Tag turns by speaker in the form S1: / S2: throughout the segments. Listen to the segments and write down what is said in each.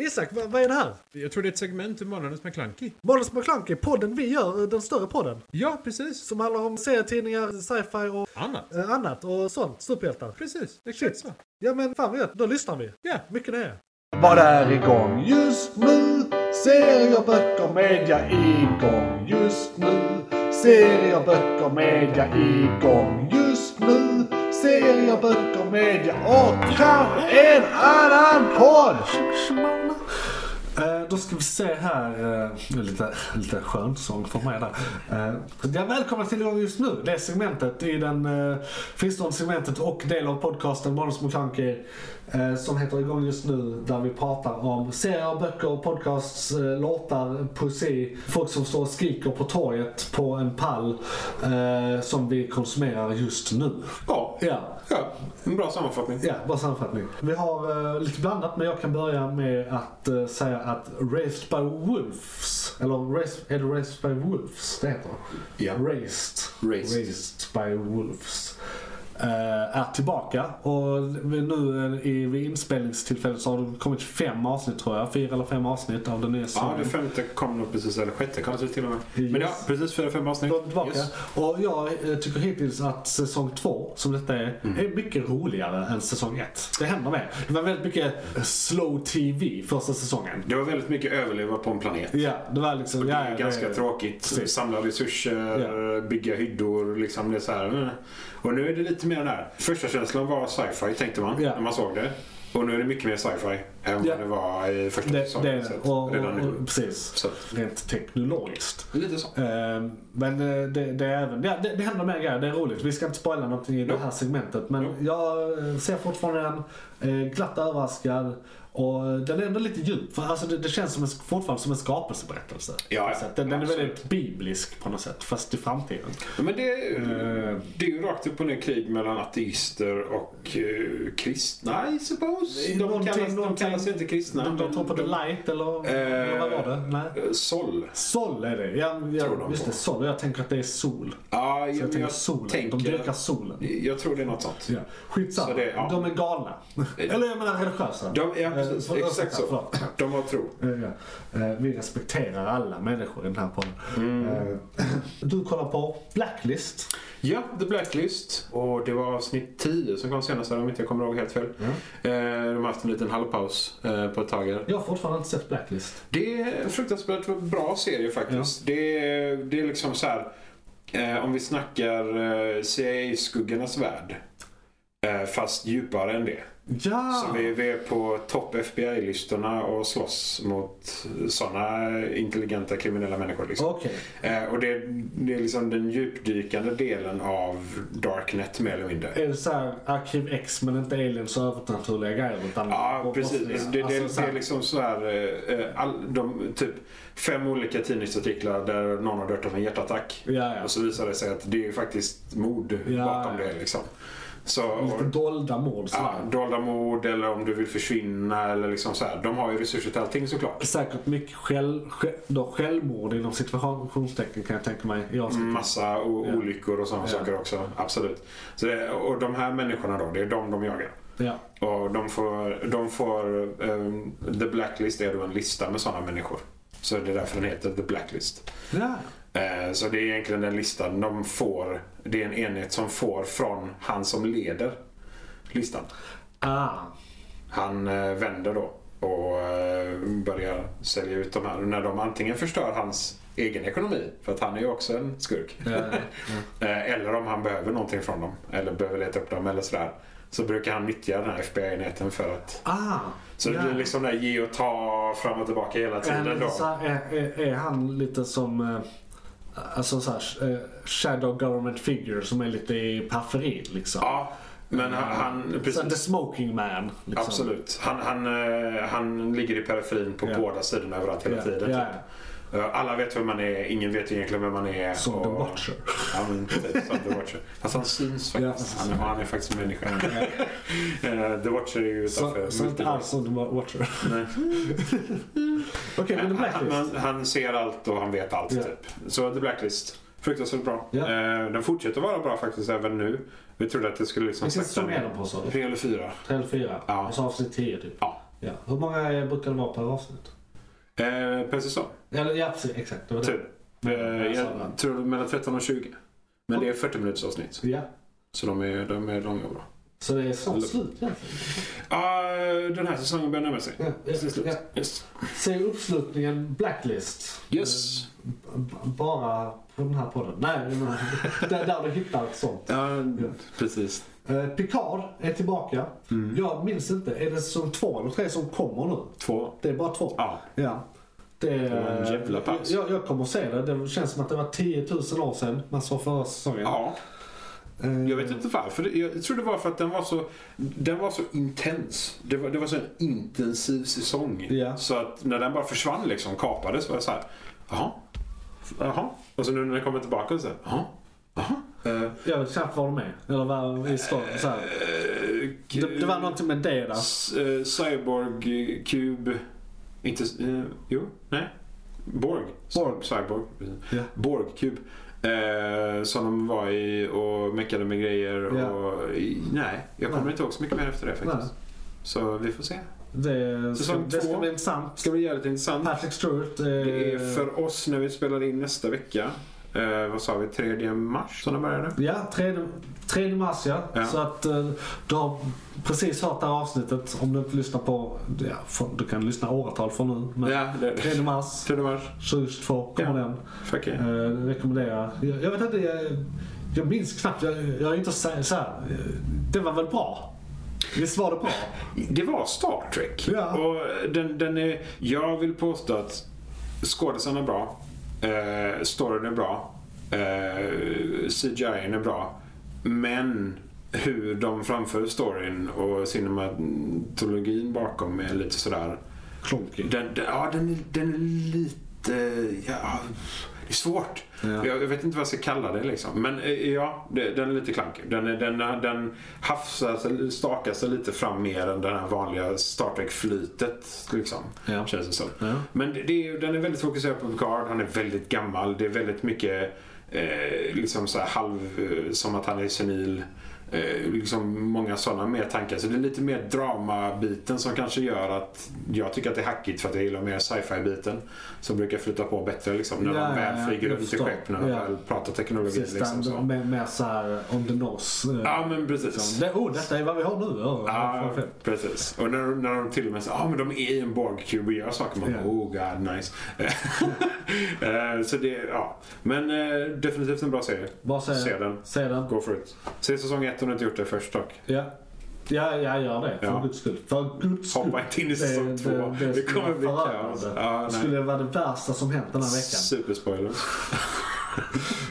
S1: Isak, vad, vad är det här?
S2: Jag tror det är ett segment ur Månadens McKlunky.
S1: Månadens McKlunky, podden vi gör, eh, den större podden.
S2: Ja, precis.
S1: Som handlar om serietidningar, sci-fi och
S2: Annat.
S1: eh, annat och sånt. Superhjältar.
S2: Precis, exakt
S1: Shit.
S2: så.
S1: Ja men fan vad gött, då lyssnar vi.
S2: Ja.
S1: Mycket nöje.
S3: Vad är igång just nu? Serier, böcker, media igång just nu. Serier, böcker, media igång just nu. Serier, böcker, media och kanske en annan podd. Eh, Då ska vi se här, eh, det är lite, lite skönsång för mig där. Eh, Ja, välkomna till igång just nu. Det segmentet i den eh, fristående segmentet och del av podcasten Manus McKunky eh, som heter igång just nu där vi pratar om serier, böcker, podcasts, eh, låtar, poesi, folk som står och skriker på torget på en pall eh, som vi konsumerar just nu.
S2: Ja,
S3: Ja,
S2: ja. En bra sammanfattning.
S3: Ja, bara sammanfattning. Vi har eh, lite blandat men jag kan börja med att eh, säga att Raised by Wolves, eller raised, är det Raised by Wolves det heter?
S2: Ja.
S3: Raised.
S2: Raised.
S3: Raised by Wolves. eh, är tillbaka och vi nu eh, i, vid inspelningstillfället så har det kommit fem avsnitt tror jag. Fyra eller fem avsnitt av den nya
S2: Ja,
S3: säsongen.
S2: det femte kom nog precis, eller sjätte kanske till och med.
S3: Yes.
S2: Men ja, precis fyra, fem avsnitt.
S3: Kom tillbaka.
S2: Yes.
S3: Och jag eh, tycker hittills att säsong två, som detta är,
S2: Mm.
S3: är mycket roligare än säsong ett. Det händer mer. Det var väldigt mycket slow TV första säsongen.
S2: Det var väldigt mycket överleva på en planet.
S3: Ja, det var liksom...
S2: Det
S3: ja,
S2: är
S3: ja,
S2: ganska
S3: det-
S2: tråkigt.
S3: Precis.
S2: Samla resurser,
S3: Ja.
S2: bygga hyddor. Liksom det är så här. mm. Och nu är det lite mer den här. Första känslan var sci-fi tänkte man
S3: Ja.
S2: när man såg det. Och nu är det mycket mer sci-fi än
S3: Ja.
S2: vad det var i första
S3: Det, det
S2: säsongen.
S3: är
S2: så att
S3: det. Och, och,
S2: redan nu.
S3: och, precis.
S2: Så att,
S3: Rent teknologiskt.
S2: lite så.
S3: Ehm, Men eh, det, det är även, ja, det, det händer mer grejer, det är roligt. Vi ska inte spoila någonting i det här segmentet. Men
S2: Jo.
S3: jag eh, ser fortfarande den eh, glatt överraskad. Och eh, den är ändå lite djup. För alltså det, det känns som en, fortfarande som en skapelseberättelse.
S2: Ja,
S3: på
S2: ja.
S3: ett sätt. Den, den är
S2: Absolut.
S3: väldigt biblisk på något sätt, fast i framtiden.
S2: Ja, Men det,
S3: Eh.
S2: det är ju rakt upp och ner krig mellan ateister och eh, kristna, I suppose. De
S3: Någonting-
S2: kallas, de
S3: någonting-
S2: kallas inte kristna.
S3: de, de
S2: men
S3: tror på the light eller, eller vad var det? Nej.
S2: eh, Sol.
S3: Sol är det. Ja,
S2: Tror
S3: ja,
S2: de
S3: just
S2: på.
S3: det, sol. Jag tänker att det är sol.
S2: Ja,
S3: Så jag
S2: jag,
S3: tänker
S2: jag
S3: solen. De
S2: tänker...
S3: dyrkar solen.
S2: jag tror det är något sånt.
S3: Ja. Skitsamma.
S2: Så det- ja. Eh,
S3: De är galna. Eller jag menar religiösa.
S2: De, ja,
S3: Eh,
S2: precis.
S3: förlåt,
S2: Exakt så.
S3: förlåt.
S2: De har tro.
S3: Eh, ja. Eh, Vi respekterar alla människor i den här podden.
S2: Mm.
S3: Eh, Du kollar på Blacklist.
S2: Ja, The Blacklist. Och det var avsnitt 10 som kom senast här, om inte jag kommer ihåg helt fel. Eh, De har haft en liten halvpaus eh, på ett tag här.
S3: Jag har fortfarande inte sett Blacklist.
S2: Det är en fruktansvärt bra serie faktiskt. Det, är, det är liksom så här. Eh, om vi snackar eh, CIA-skuggornas värld. Eh, fast djupare än det.
S3: Ja!
S2: Så vi, vi är på topp FBI-listorna och slåss mot sådana intelligenta kriminella människor. Liksom.
S3: Okej.
S2: Eh, och det, det är liksom den djupdykande delen av Darknet mer eller mindre.
S3: Är det såhär Arkiv X men inte aliens och övernaturliga grejer? Utan
S2: Ja,
S3: och
S2: precis.
S3: brottslingar?
S2: Alltså, det, det,
S3: Alltså, så
S2: det
S3: här-
S2: är liksom så här, eh, eh, all, de, typ fem olika tidningsartiklar där någon har dött av en hjärtattack.
S3: Ja, ja.
S2: Och så visar det sig att det är ju faktiskt mord
S3: Ja,
S2: bakom
S3: ja.
S2: det. Liksom. Så, och,
S3: Lite dolda mord
S2: ja,
S3: sådär.
S2: dolda mord eller om du vill försvinna eller liksom så här. De har ju resurser till allting såklart.
S3: Säkert mycket själv, själv, då självmord inom situationstecken kan jag tänka mig. Jag
S2: Mm.
S3: ska
S2: Massa o-
S3: Ja.
S2: olyckor och sådana
S3: Ja.
S2: saker också. Absolut. Så det, och de här människorna då, det är de de jagar.
S3: ja.
S2: Och de får, de får ehm, The Blacklist är då en lista med sådana människor. Så det är därför den heter The Blacklist.
S3: ja.
S2: Eh, Så det är egentligen den listan de får. Det är en enhet som får från han som leder listan.
S3: Ah.
S2: Han eh, vänder då och eh, börjar sälja ut de här. När de antingen förstör hans egen ekonomi, för att han är ju också en skurk.
S3: Ja, ja,
S2: Eh, Eller om han behöver någonting från dem. Eller behöver leta upp dem eller sådär. Så brukar han nyttja den här FBI-enheten för att
S3: Ah.
S2: Så det
S3: ja.
S2: blir liksom det här ge och ta fram och tillbaka hela
S3: Är han,
S2: tiden
S3: lite så
S2: då.
S3: här, är, eh, är, är han lite som eh, alltså så här, eh, shadow government figure som är lite i periferin liksom?
S2: Ja, men han, han
S3: Så här, the
S2: precis.
S3: smoking man. Liksom.
S2: Absolut. Han, han, eh, han ligger i periferin på
S3: Ja.
S2: båda sidorna överallt hela
S3: Ja,
S2: tiden.
S3: ja.
S2: typ. Eh, Alla vet vem man är, ingen vet egentligen vem man är.
S3: Som The Watcher.
S2: Ja, men typ som The Watcher. Fast han syns
S3: Ja,
S2: faktiskt.
S3: precis.
S2: han, är- han är faktiskt en människa. Eh, The Watcher är ju utanför.
S3: Så, så inte alls som The Watcher.
S2: Nej.
S3: Okej, men The
S2: han,
S3: Blacklist.
S2: han, han ser allt och han vet allt
S3: Ja.
S2: typ. Så The Blacklist. Fruktansvärt bra.
S3: Ja.
S2: Eh, den fortsätter vara bra faktiskt även nu. Vi trodde att det skulle liksom
S3: Vilken säsong
S2: sakta-
S3: är de på så?
S2: Tre eller fyra.
S3: Tre eller fyra?
S2: Ja.
S3: Och så avsnitt tio typ?
S2: Ja.
S3: Ja. Hur många brukar det vara per avsnitt?
S2: Eh, per säsong.
S3: Eller, ja, alltså. precis. Exakt. Det var det.
S2: Typ. Eh,
S3: jag sa det.
S2: jag tror mellan 13 och 20. Men det är 40 minuters avsnitt.
S3: Ja.
S2: Så de är, de är långa och bra.
S3: Så det är snart
S2: Eller-
S3: slut egentligen.
S2: Ah, den här säsongen börjar närma sig.
S3: Ja, ja,
S2: Det är slut.
S3: ja.
S2: Yes.
S3: Se uppslutningen Blacklist.
S2: yes.
S3: Eh, b- Bara på den här podden. Nej, jag menar, där, där du hittar sånt.
S2: Ja, precis.
S3: Eh, Picard är tillbaka.
S2: Mm.
S3: Jag minns inte. Är det som två eller tre som kommer nu?
S2: Två.
S3: Det är bara två.
S2: Ja.
S3: Ja. Det,
S2: var en jävla paus.
S3: jag, jag kommer att se det. Det känns som att det var 10 000 år sedan man såg förra säsongen.
S2: ja.
S3: Eh,
S2: Jag vet inte varför. Jag tror det var för att den var så, den var så intens. Det var, det var så en intensiv säsong.
S3: Ja.
S2: Så att när den bara försvann liksom, kapades, var jag så här. Jaha. Jaha. Och så nu när den kommer tillbaka så här. Jaha. Jaha. Eh,
S3: Jag vet knappt var de är. Eller var i storyn. Så här.
S2: eh,
S3: Det, det var någonting med det där.
S2: S- eh, Cyborg, eh, Cube... Inte... eh, jo? Nej? Borg.
S3: Borg.
S2: Cyborg. precis.
S3: Ja.
S2: Borg, Cube. Eh, som de var i och meckade med grejer
S3: Ja.
S2: och... i- Nej, jag kommer
S3: Nej.
S2: inte ihåg så mycket mer efter det faktiskt. Så vi får se.
S3: Det, ska,
S2: Säsong
S3: det ska
S2: två.
S3: bli intressant.
S2: Ska bli jävligt intressant.
S3: Patrick Stewart. eh,
S2: Det är för oss när vi spelar in nästa vecka. Eh, vad sa vi? 3 mars som de började?
S3: Ja, 3, 3 mars ja.
S2: Ja.
S3: Så att eh, du har precis hört det här avsnittet. Om du inte lyssnar på... Ja, för, du kan lyssna åratal från nu. Men
S2: Ja, det,
S3: 3 mars
S2: 3 mars.
S3: 2022 kommer
S2: Ja.
S3: den.
S2: Fuck yeah.
S3: Eh, rekommenderar. Jag, jag vet inte, jag, jag minns knappt. Jag, jag är inte så, så här. eh, Det var väl bra? Visst var det bra?
S2: Det var Star Trek.
S3: Ja.
S2: Och den, den är, jag vill påstå att skådisarna är bra. Eh, storyn är bra. Eh, CGI är bra. Men hur de framför storyn och cinematologin bakom är lite sådär...
S3: Klonkig.
S2: Den, den, ja, den, är- den är lite... Ja, det är svårt.
S3: Ja.
S2: Jag, jag vet inte vad jag ska kalla det liksom. Men eh, ja, det, den är lite klankig. Den, är- den, är- den hafsar sig, stakar sig lite fram mer än det här vanliga Star Trek-flytet. Liksom,
S3: Ja.
S2: Känns det som.
S3: Ja.
S2: Men det, det är, ju- den är väldigt fokuserad på Picard. Han är väldigt gammal. Det är väldigt mycket eh, liksom så här halv... Eh, som att han är senil. Eh, liksom många sådana mer tankar. Så det är lite mer dramabiten som kanske gör att jag tycker att det är hackigt för att jag gillar mer sci-fi-biten. Som brukar flytta på bättre liksom när
S3: Ja,
S2: de väl
S3: ja, ja.
S2: flyger
S3: Jag
S2: upp till
S3: förstår.
S2: skepp. När de
S3: Ja.
S2: väl pratar teknologi
S3: Precis,
S2: liksom
S3: den-
S2: så.
S3: mer, mer så här on the nose. eh,
S2: Ja men
S3: liksom.
S2: precis.
S3: Det, oh, detta är vad vi har nu. Ja,
S2: Ja,
S3: fan, fett.
S2: precis. Och när, de- när de till och med säger ah, men de är i en borgkub och gör saker. Man
S3: Ja.
S2: bara, oh god nice. Eh, så det, ja. Men eh, definitivt en bra serie.
S3: Bara se,
S2: Se den.
S3: Se den.
S2: Go for it. Se säsong ett om du inte gjort det först dock.
S3: Ja. Ja, ja, gör det. För
S2: Ja.
S3: guds skull. För guds skull.
S2: Hoppa inte in i säsong två. Det,
S3: skulle
S2: kommer
S3: vara
S2: bli kaos.
S3: förödande.
S2: Ja, nej.
S3: det skulle vara det värsta som hänt den här veckan.
S2: Superspoiler.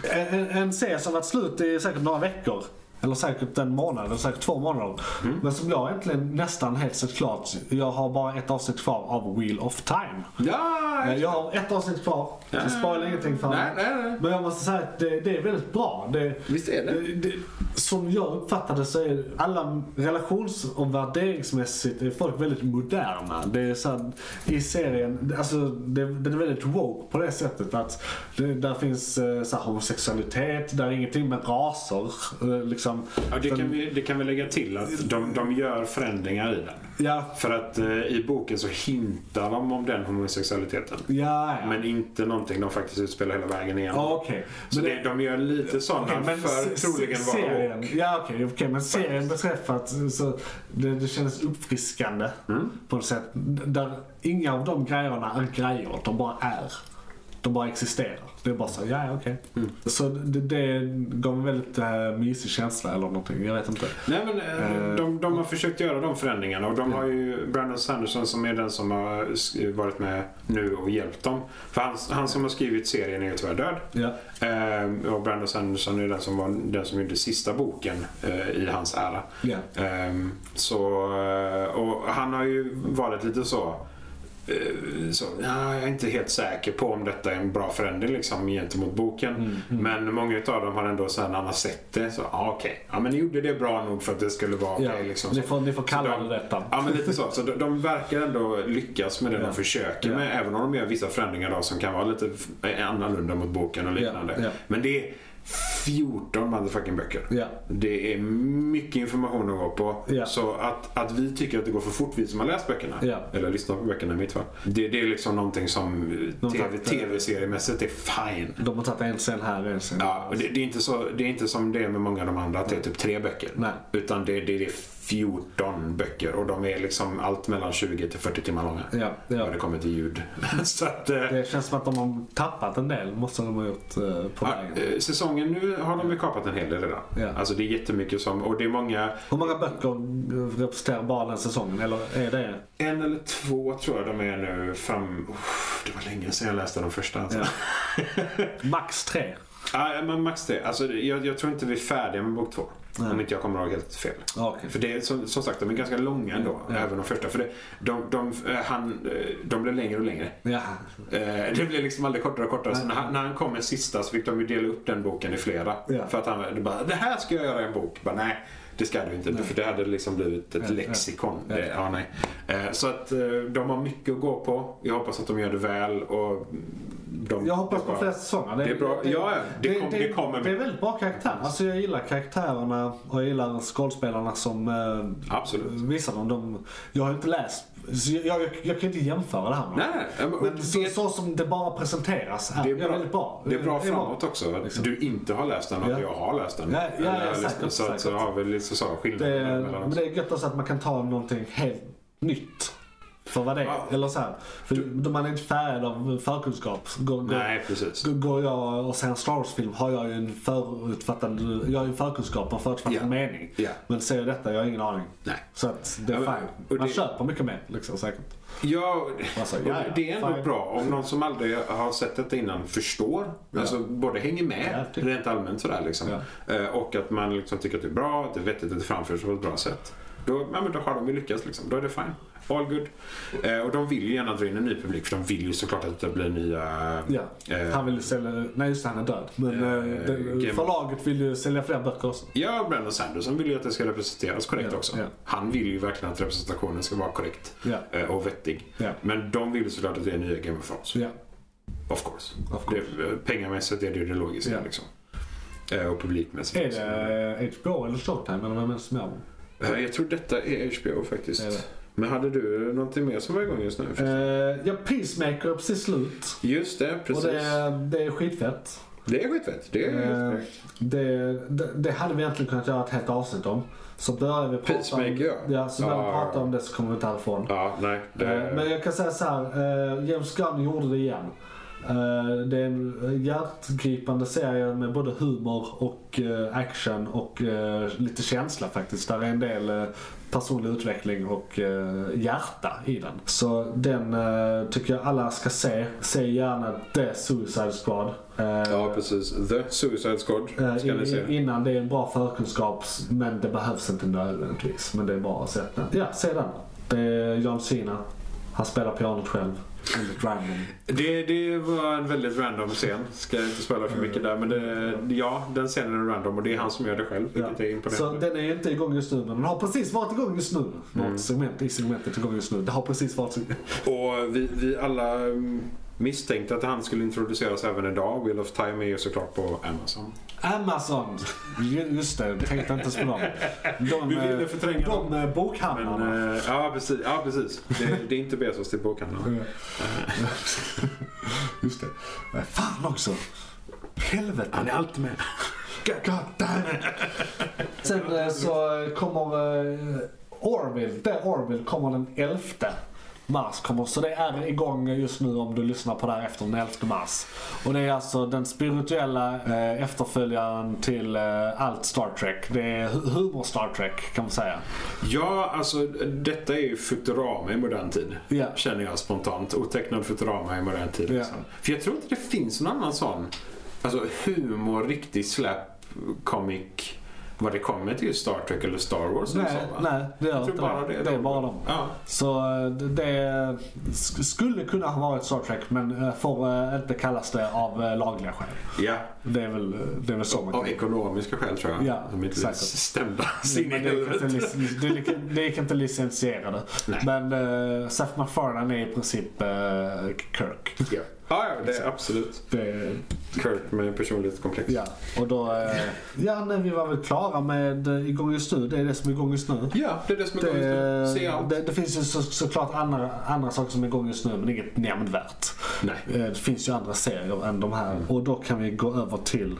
S3: En, en, en serie som varit slut i säkert några veckor. Eller säkert en månad, eller säkert två månader.
S2: Mm.
S3: Men som jag egentligen nästan helt sett klart. Jag har bara ett avsnitt kvar av Wheel of Time. Eh,
S2: Ja!
S3: Jag har ett avsnitt kvar. Jag spoilar ingenting för
S2: Nej,
S3: mig.
S2: nej, nej.
S3: Men jag måste säga att det, det är väldigt bra. Det,
S2: Visst är det?
S3: det, Eh, det, som jag uppfattade så är alla relations och värderingsmässigt är folk väldigt moderna. Det är så här, I serien, alltså det, den är väldigt woke på det sättet att det, där finns eh, så här, homosexualitet, där är ingenting med raser. eh, Liksom.
S2: Ja, det, kan vi, det kan vi lägga till att de, de gör förändringar i den.
S3: Ja,
S2: För att eh, i boken så hintar de om den homosexualiteten.
S3: ja, ja.
S2: Men inte någonting de faktiskt utspelar hela vägen igen.
S3: Ja, Okej.
S2: Så
S3: Men
S2: det, de gör lite sådana
S3: Okej, men
S2: för
S3: se-
S2: troligen
S3: se-
S2: vara
S3: serien, Ja okej, okej, men serien beträffat så det, det kändes uppfriskande
S2: Mm.
S3: på något sätt. D- Där inga av de grejerna är grejer, de bara är. De bara existerar. Det är bara så, ja ja, okej.
S2: Mm.
S3: Så det, det gav en väldigt äh, mysig känsla eller någonting, jag vet inte.
S2: Nej men eh, de, de har försökt göra de förändringarna och de har ju Brandon Sanderson som är den som har sk- varit med nu och hjälpt dem. För han, han som har skrivit serien är ju tyvärr död.
S3: Ja,
S2: Eh, och Brandon Sanderson är den som, var, den som gjorde sista boken eh, i hans ära.
S3: ja.
S2: Ehm, så, eh, och han har ju varit lite så, eh, så "Ja, jag är inte helt säker på om detta är en bra förändring liksom, gentemot boken.
S3: Mm,
S2: Men många av dem har ändå sen när han har sett det så, ah, okej, ja men ni gjorde det bra nog för att det skulle vara okej.
S3: ja.
S2: liksom,
S3: ni,
S2: så.
S3: får, ni får kalla
S2: Så de-
S3: det detta.
S2: Ja men lite så. Så de, de verkar ändå lyckas med det
S3: Ja.
S2: de försöker
S3: Ja.
S2: med. Även om de gör vissa förändringar då, som kan vara lite f- annorlunda mot boken och liknande.
S3: Ja, ja.
S2: Men det, 14 motherfucking böcker.
S3: Ja.
S2: Det är mycket information att gå på.
S3: Ja.
S2: Så att, att vi tycker att det går för fort, vi som har läst böckerna.
S3: Ja.
S2: Eller lyssnat på böckerna i mitt fall. Det, det är liksom någonting som eh,
S3: De
S2: TV,
S3: fattar.
S2: tv-seriemässigt är fine.
S3: De har tagit en scen här och en scen
S2: Ja, och det, det, är inte så, det är inte som det är med många av de andra, att det är typ tre böcker.
S3: Nej.
S2: Utan det, det är 14 böcker och de är liksom allt mellan 20 till 40 timmar långa.
S3: Ja, ja.
S2: När det kommer till ljud. så att, eh,
S3: Det känns som att de har tappat en del, måste de ha gjort eh, på
S2: ja,
S3: vägen.
S2: eh, säsongen nu har de ju kapat en hel del redan.
S3: Ja.
S2: Alltså det är jättemycket som, och det är många,
S3: Hur många böcker eh, representerar bara den säsongen? Eller är det?
S2: en eller två tror jag de är nu fram, Uff, det var länge sedan jag läste de första. Alltså.
S3: Ja. Max tre?
S2: Ja, men max det. Alltså, jag, jag tror inte vi är färdiga med bok två.
S3: Nej.
S2: Om inte jag kommer ihåg helt fel.
S3: Ja, okej.
S2: För det är som, som sagt, de är ganska långa ändå.
S3: Ja.
S2: Även de första. För det, de, de, eh, han, eh, de blev längre och längre.
S3: Ja.
S2: Eh, Det blev liksom aldrig kortare och kortare. Så
S3: Nej.
S2: när han, när han kom med sista så fick de ju dela upp den boken i flera.
S3: Ja.
S2: För att han det bara, det här ska jag göra i en bok. Bara, nej, det ska du inte. För det hade liksom blivit ett
S3: Ja,
S2: lexikon.
S3: ja.
S2: Det, ja, nej. Eh, Så att eh, de har mycket att gå på. Jag hoppas att de gör det väl. Och de,
S3: Jag hoppas på fler säsonger.
S2: Det är bra. Ja, ja. Det kom- det kommer.
S3: Det är väldigt bra karaktär. Alltså jag gillar karaktärerna och jag gillar skådespelarna som eh,
S2: Absolut.
S3: visar dem. De, jag har inte läst, så jag, jag, jag kan inte jämföra det här med
S2: Nej, nej. Ja, men- och
S3: Men så,
S2: det-
S3: så som det bara presenteras här,
S2: Det
S3: det
S2: är
S3: är,
S2: bra,
S3: väldigt bra.
S2: Det är bra framåt också. Att
S3: Liksom.
S2: du inte har läst den och att
S3: Ja.
S2: jag har läst den.
S3: Ja, ja, ja,
S2: Eller, liksom,
S3: säkert,
S2: så, att, så
S3: säkert.
S2: har vi lite så skillnader
S3: Det,
S2: mellan
S3: men
S2: oss.
S3: det är gött också att man kan ta någonting helt nytt. För vad det är.
S2: Ja.
S3: Eller så här. För då man är inte färgad av förkunskap. Går, går,
S2: Nej, precis.
S3: går- går jag och ser en Star Wars-film har jag ju en förutfattad, jag har ju en förkunskap och en förutfattad
S2: Ja.
S3: mening.
S2: Ja.
S3: Men ser jag detta, jag har ingen aning.
S2: Nej.
S3: Så att det är
S2: Ja, men- och
S3: fine. Man
S2: det-
S3: köper mycket mer liksom säkert.
S2: Ja,
S3: Alltså,
S2: och
S3: ja, ja,
S2: det är ändå
S3: fine.
S2: bra om någon som aldrig har sett detta innan förstår. Alltså både hänger med
S3: Ja, typ.
S2: rent allmänt sådär liksom. Eh, Och att man liksom tycker att det är bra, att det är vettigt att det framförs på ett bra sätt. Då, ja, men då har de ju lyckats liksom. Då är det fine. All good. Eh, och de vill ju gärna dra in en ny publik för de vill ju såklart att det blir nya...
S3: Ja.
S2: eh,
S3: Han vill ju sälja, nej just det, han är död. Men
S2: Eh,
S3: eh, det,
S2: Game-
S3: förlaget vill ju sälja fler böcker också.
S2: Ja, Brandon Sanderson vill ju att det ska representeras korrekt
S3: Ja,
S2: också.
S3: ja.
S2: Han vill ju verkligen att representationen ska vara korrekt
S3: Ja.
S2: eh, och vettig.
S3: Ja.
S2: Men de vill ju såklart att det är nya Game of Thrones.
S3: Så ja.
S2: Of course.
S3: Of course.
S2: Det, eh, pengamässigt är det ju det logiska
S3: Ja.
S2: liksom. Eh, Och publikmässigt
S3: Är
S2: också.
S3: det eh, HBO eller Showtime eller vem är det som gör
S2: Eh, Jag tror detta är HBO faktiskt.
S3: Det är det.
S2: Men hade du någonting mer som var igång just nu?
S3: Eh, ja, Peacemaker är precis slut.
S2: Just det, precis.
S3: Och
S2: det, är...
S3: det, det är skitfett.
S2: skitfett. Det är helt
S3: Eh,
S2: korrekt.
S3: det, det, det hade vi egentligen kunnat göra ett helt avsnitt om. Så börjar vi prata
S2: Peacemaker, ja.
S3: om, ja, så börjar vi
S2: Ja.
S3: prata om det så kommer vi inte härifrån.
S2: Ja, nej. Det...
S3: Eh, Men jag kan säga så här, eh, James Gunn gjorde det igen. Eh, Det är en hjärtgripande serie med både humor och eh, action och eh, lite känsla faktiskt. Där är en del eh, personlig utveckling och eh, hjärta i den. Så den eh, tycker jag alla ska se. Se gärna The Suicide Squad. Eh,
S2: Ja, precis. The Suicide Squad
S3: eh,
S2: ska ni se.
S3: i- Innan det är en bra förkunskap men det behövs inte nödvändigtvis. Men det är bra att se den. Ja, se den. Det är John Cena. Han spelar pianot själv. Väldigt random.
S2: Det, det var en väldigt random scen. Ska jag inte spela för
S3: Eh.
S2: mycket där. Men det, ja, den scenen är random och det är han som gör det själv.
S3: Ja.
S2: Vilket är
S3: Så
S2: imponerande. Mm.
S3: den är ju inte igång just nu men den har precis varit igång just nu. Något segment i segmentet är igång just nu. Det har precis varit
S2: Och vi, vi alla mm, misstänkte att han skulle introduceras även idag. Wheel of Time är ju såklart på Amazon.
S3: Amazon! Ju- Just det, tänkte inte ens på dem. De,
S2: Vi ville
S3: eh,
S2: förtränga
S3: de
S2: dem.
S3: eh, bokhandlarna.
S2: Men, eh, ja, precis. Ja, precis. Det, det är inte Bezos till bokhandeln.
S3: Mm. Just det. Eh, Fan också! Helvete!
S2: är alltid med.
S3: God damn it. Sen eh, så eh, kommer eh, Orville, det Orville kommer den 11 mars. Kommer, så det är igång just nu om du lyssnar på det här efter den 11 mars. Och det är alltså den spirituella eh, efterföljaren till eh, allt Star Trek. Det är hu- humor Star Trek kan man säga.
S2: Ja, alltså detta är ju Futurama i modern tid.
S3: Ja.
S2: Känner jag spontant. Otecknad Futurama i modern tid.
S3: Ja.
S2: Liksom. För jag tror inte det finns någon annan sån alltså, humor, riktig slap, comic vad det kommer till just Star Trek eller Star Wars. eller
S3: Nej,
S2: så, va?
S3: nej, det gör
S2: Jag tror
S3: inte det.
S2: bara det.
S3: Det är bara dem.
S2: Ja.
S3: Så eh, det- det sk- skulle kunna ha varit Star Trek men eh, får eh, inte kallas det av eh, lagliga skäl.
S2: ja,
S3: Det är väl, eh, det är väl så man
S2: av ekonomiska skäl tror jag.
S3: Ja,
S2: De är inte
S3: säkert.
S2: stämda sin i
S3: Men det gick inte
S2: helvete.
S3: lic- det gick- Det gick inte licensierade.
S2: Nej.
S3: Men uh, Seth MacFarlane är i princip eh, Kirk.
S2: Ja. Ja, ja, det är absolut.
S3: Det,
S2: Kurt med personlighetskomplex.
S3: ja. Och då, eh, ja, nej, vi var väl klara med eh, igång just nu. Det är det som är igång just nu.
S2: ja, det är det som är
S3: Det,
S2: gången nu. Se allt.
S3: Eh, det, det finns ju så, såklart andra, andra saker som är igång just nu men inget nämnvärt.
S2: Nej. Mm.
S3: Eh, Det finns ju andra serier än de här och då kan vi gå över till